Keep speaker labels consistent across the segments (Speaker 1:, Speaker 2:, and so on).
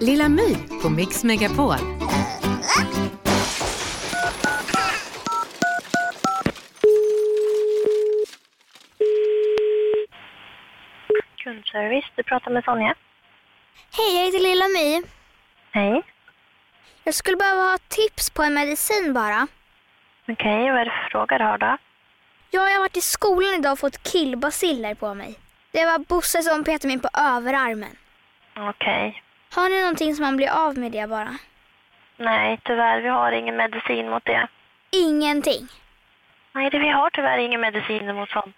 Speaker 1: Lilla My på Mix Megapol.
Speaker 2: Kundservice, du pratar med Sonja.
Speaker 3: Hej, jag heter Lilla My.
Speaker 2: Hej.
Speaker 3: Jag skulle behöva ha tips på en medicin bara.
Speaker 2: Okej, vad är det för fråga du har då?
Speaker 3: Jag har varit i skolan idag och fått killbaciller på mig. Det var Bosse som petade mig på överarmen.
Speaker 2: Okej.
Speaker 3: Har ni någonting som man blir av med det bara?
Speaker 2: Nej, tyvärr, vi har ingen medicin mot det.
Speaker 3: Ingenting.
Speaker 2: Nej, det, vi har tyvärr ingen medicin mot sånt.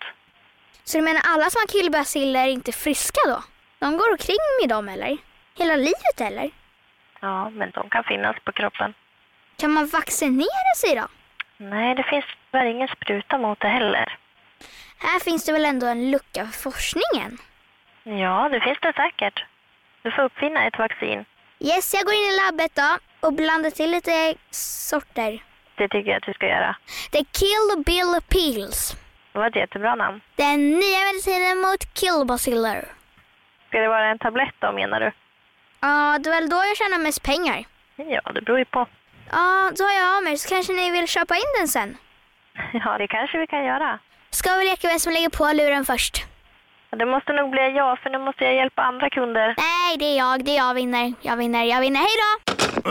Speaker 3: Så du menar alla som har killbaciller är inte friska då? De går omkring med dem eller? Hela livet eller?
Speaker 2: Ja, men de kan finnas på kroppen.
Speaker 3: Kan man vaccinera sig då?
Speaker 2: Nej, det finns tyvärr ingen spruta mot det heller.
Speaker 3: Här finns det väl ändå en lucka för forskningen?
Speaker 2: Ja, det finns det säkert. Du får uppfinna ett vaccin.
Speaker 3: Yes, jag går in i labbet då och blandar till lite sorter.
Speaker 2: Det tycker jag att du ska göra.
Speaker 3: The Kill Bill Pills.
Speaker 2: Det var ett jättebra namn.
Speaker 3: Den nya medicinen mot killbaciller.
Speaker 2: Ska det vara en tablett då, menar du?
Speaker 3: Ja, det är väl då jag tjänar mest pengar.
Speaker 2: Ja, det beror ju på.
Speaker 3: Ja, då har jag av mig så kanske ni vill köpa in den sen.
Speaker 2: Ja, det kanske vi kan göra.
Speaker 3: Ska vi leka vem som lägger på luren först?
Speaker 2: Men Det måste nog bli jag, för nu måste jag hjälpa andra kunder.
Speaker 3: Nej, det är jag. Det är jag vinner. Jag vinner. Jag vinner. Hej då!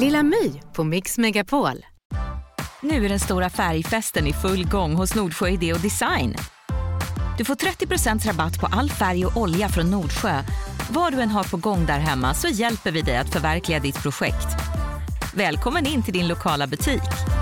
Speaker 1: Lilla My på Mix Megapol.
Speaker 4: Nu är den stora färgfesten i full gång hos Nordsjö Idé och Design. Du får 30 rabatt på all färg och olja från Nordsjö. Vad du än har på gång där hemma så hjälper vi dig att förverkliga ditt projekt. Välkommen in till din lokala butik.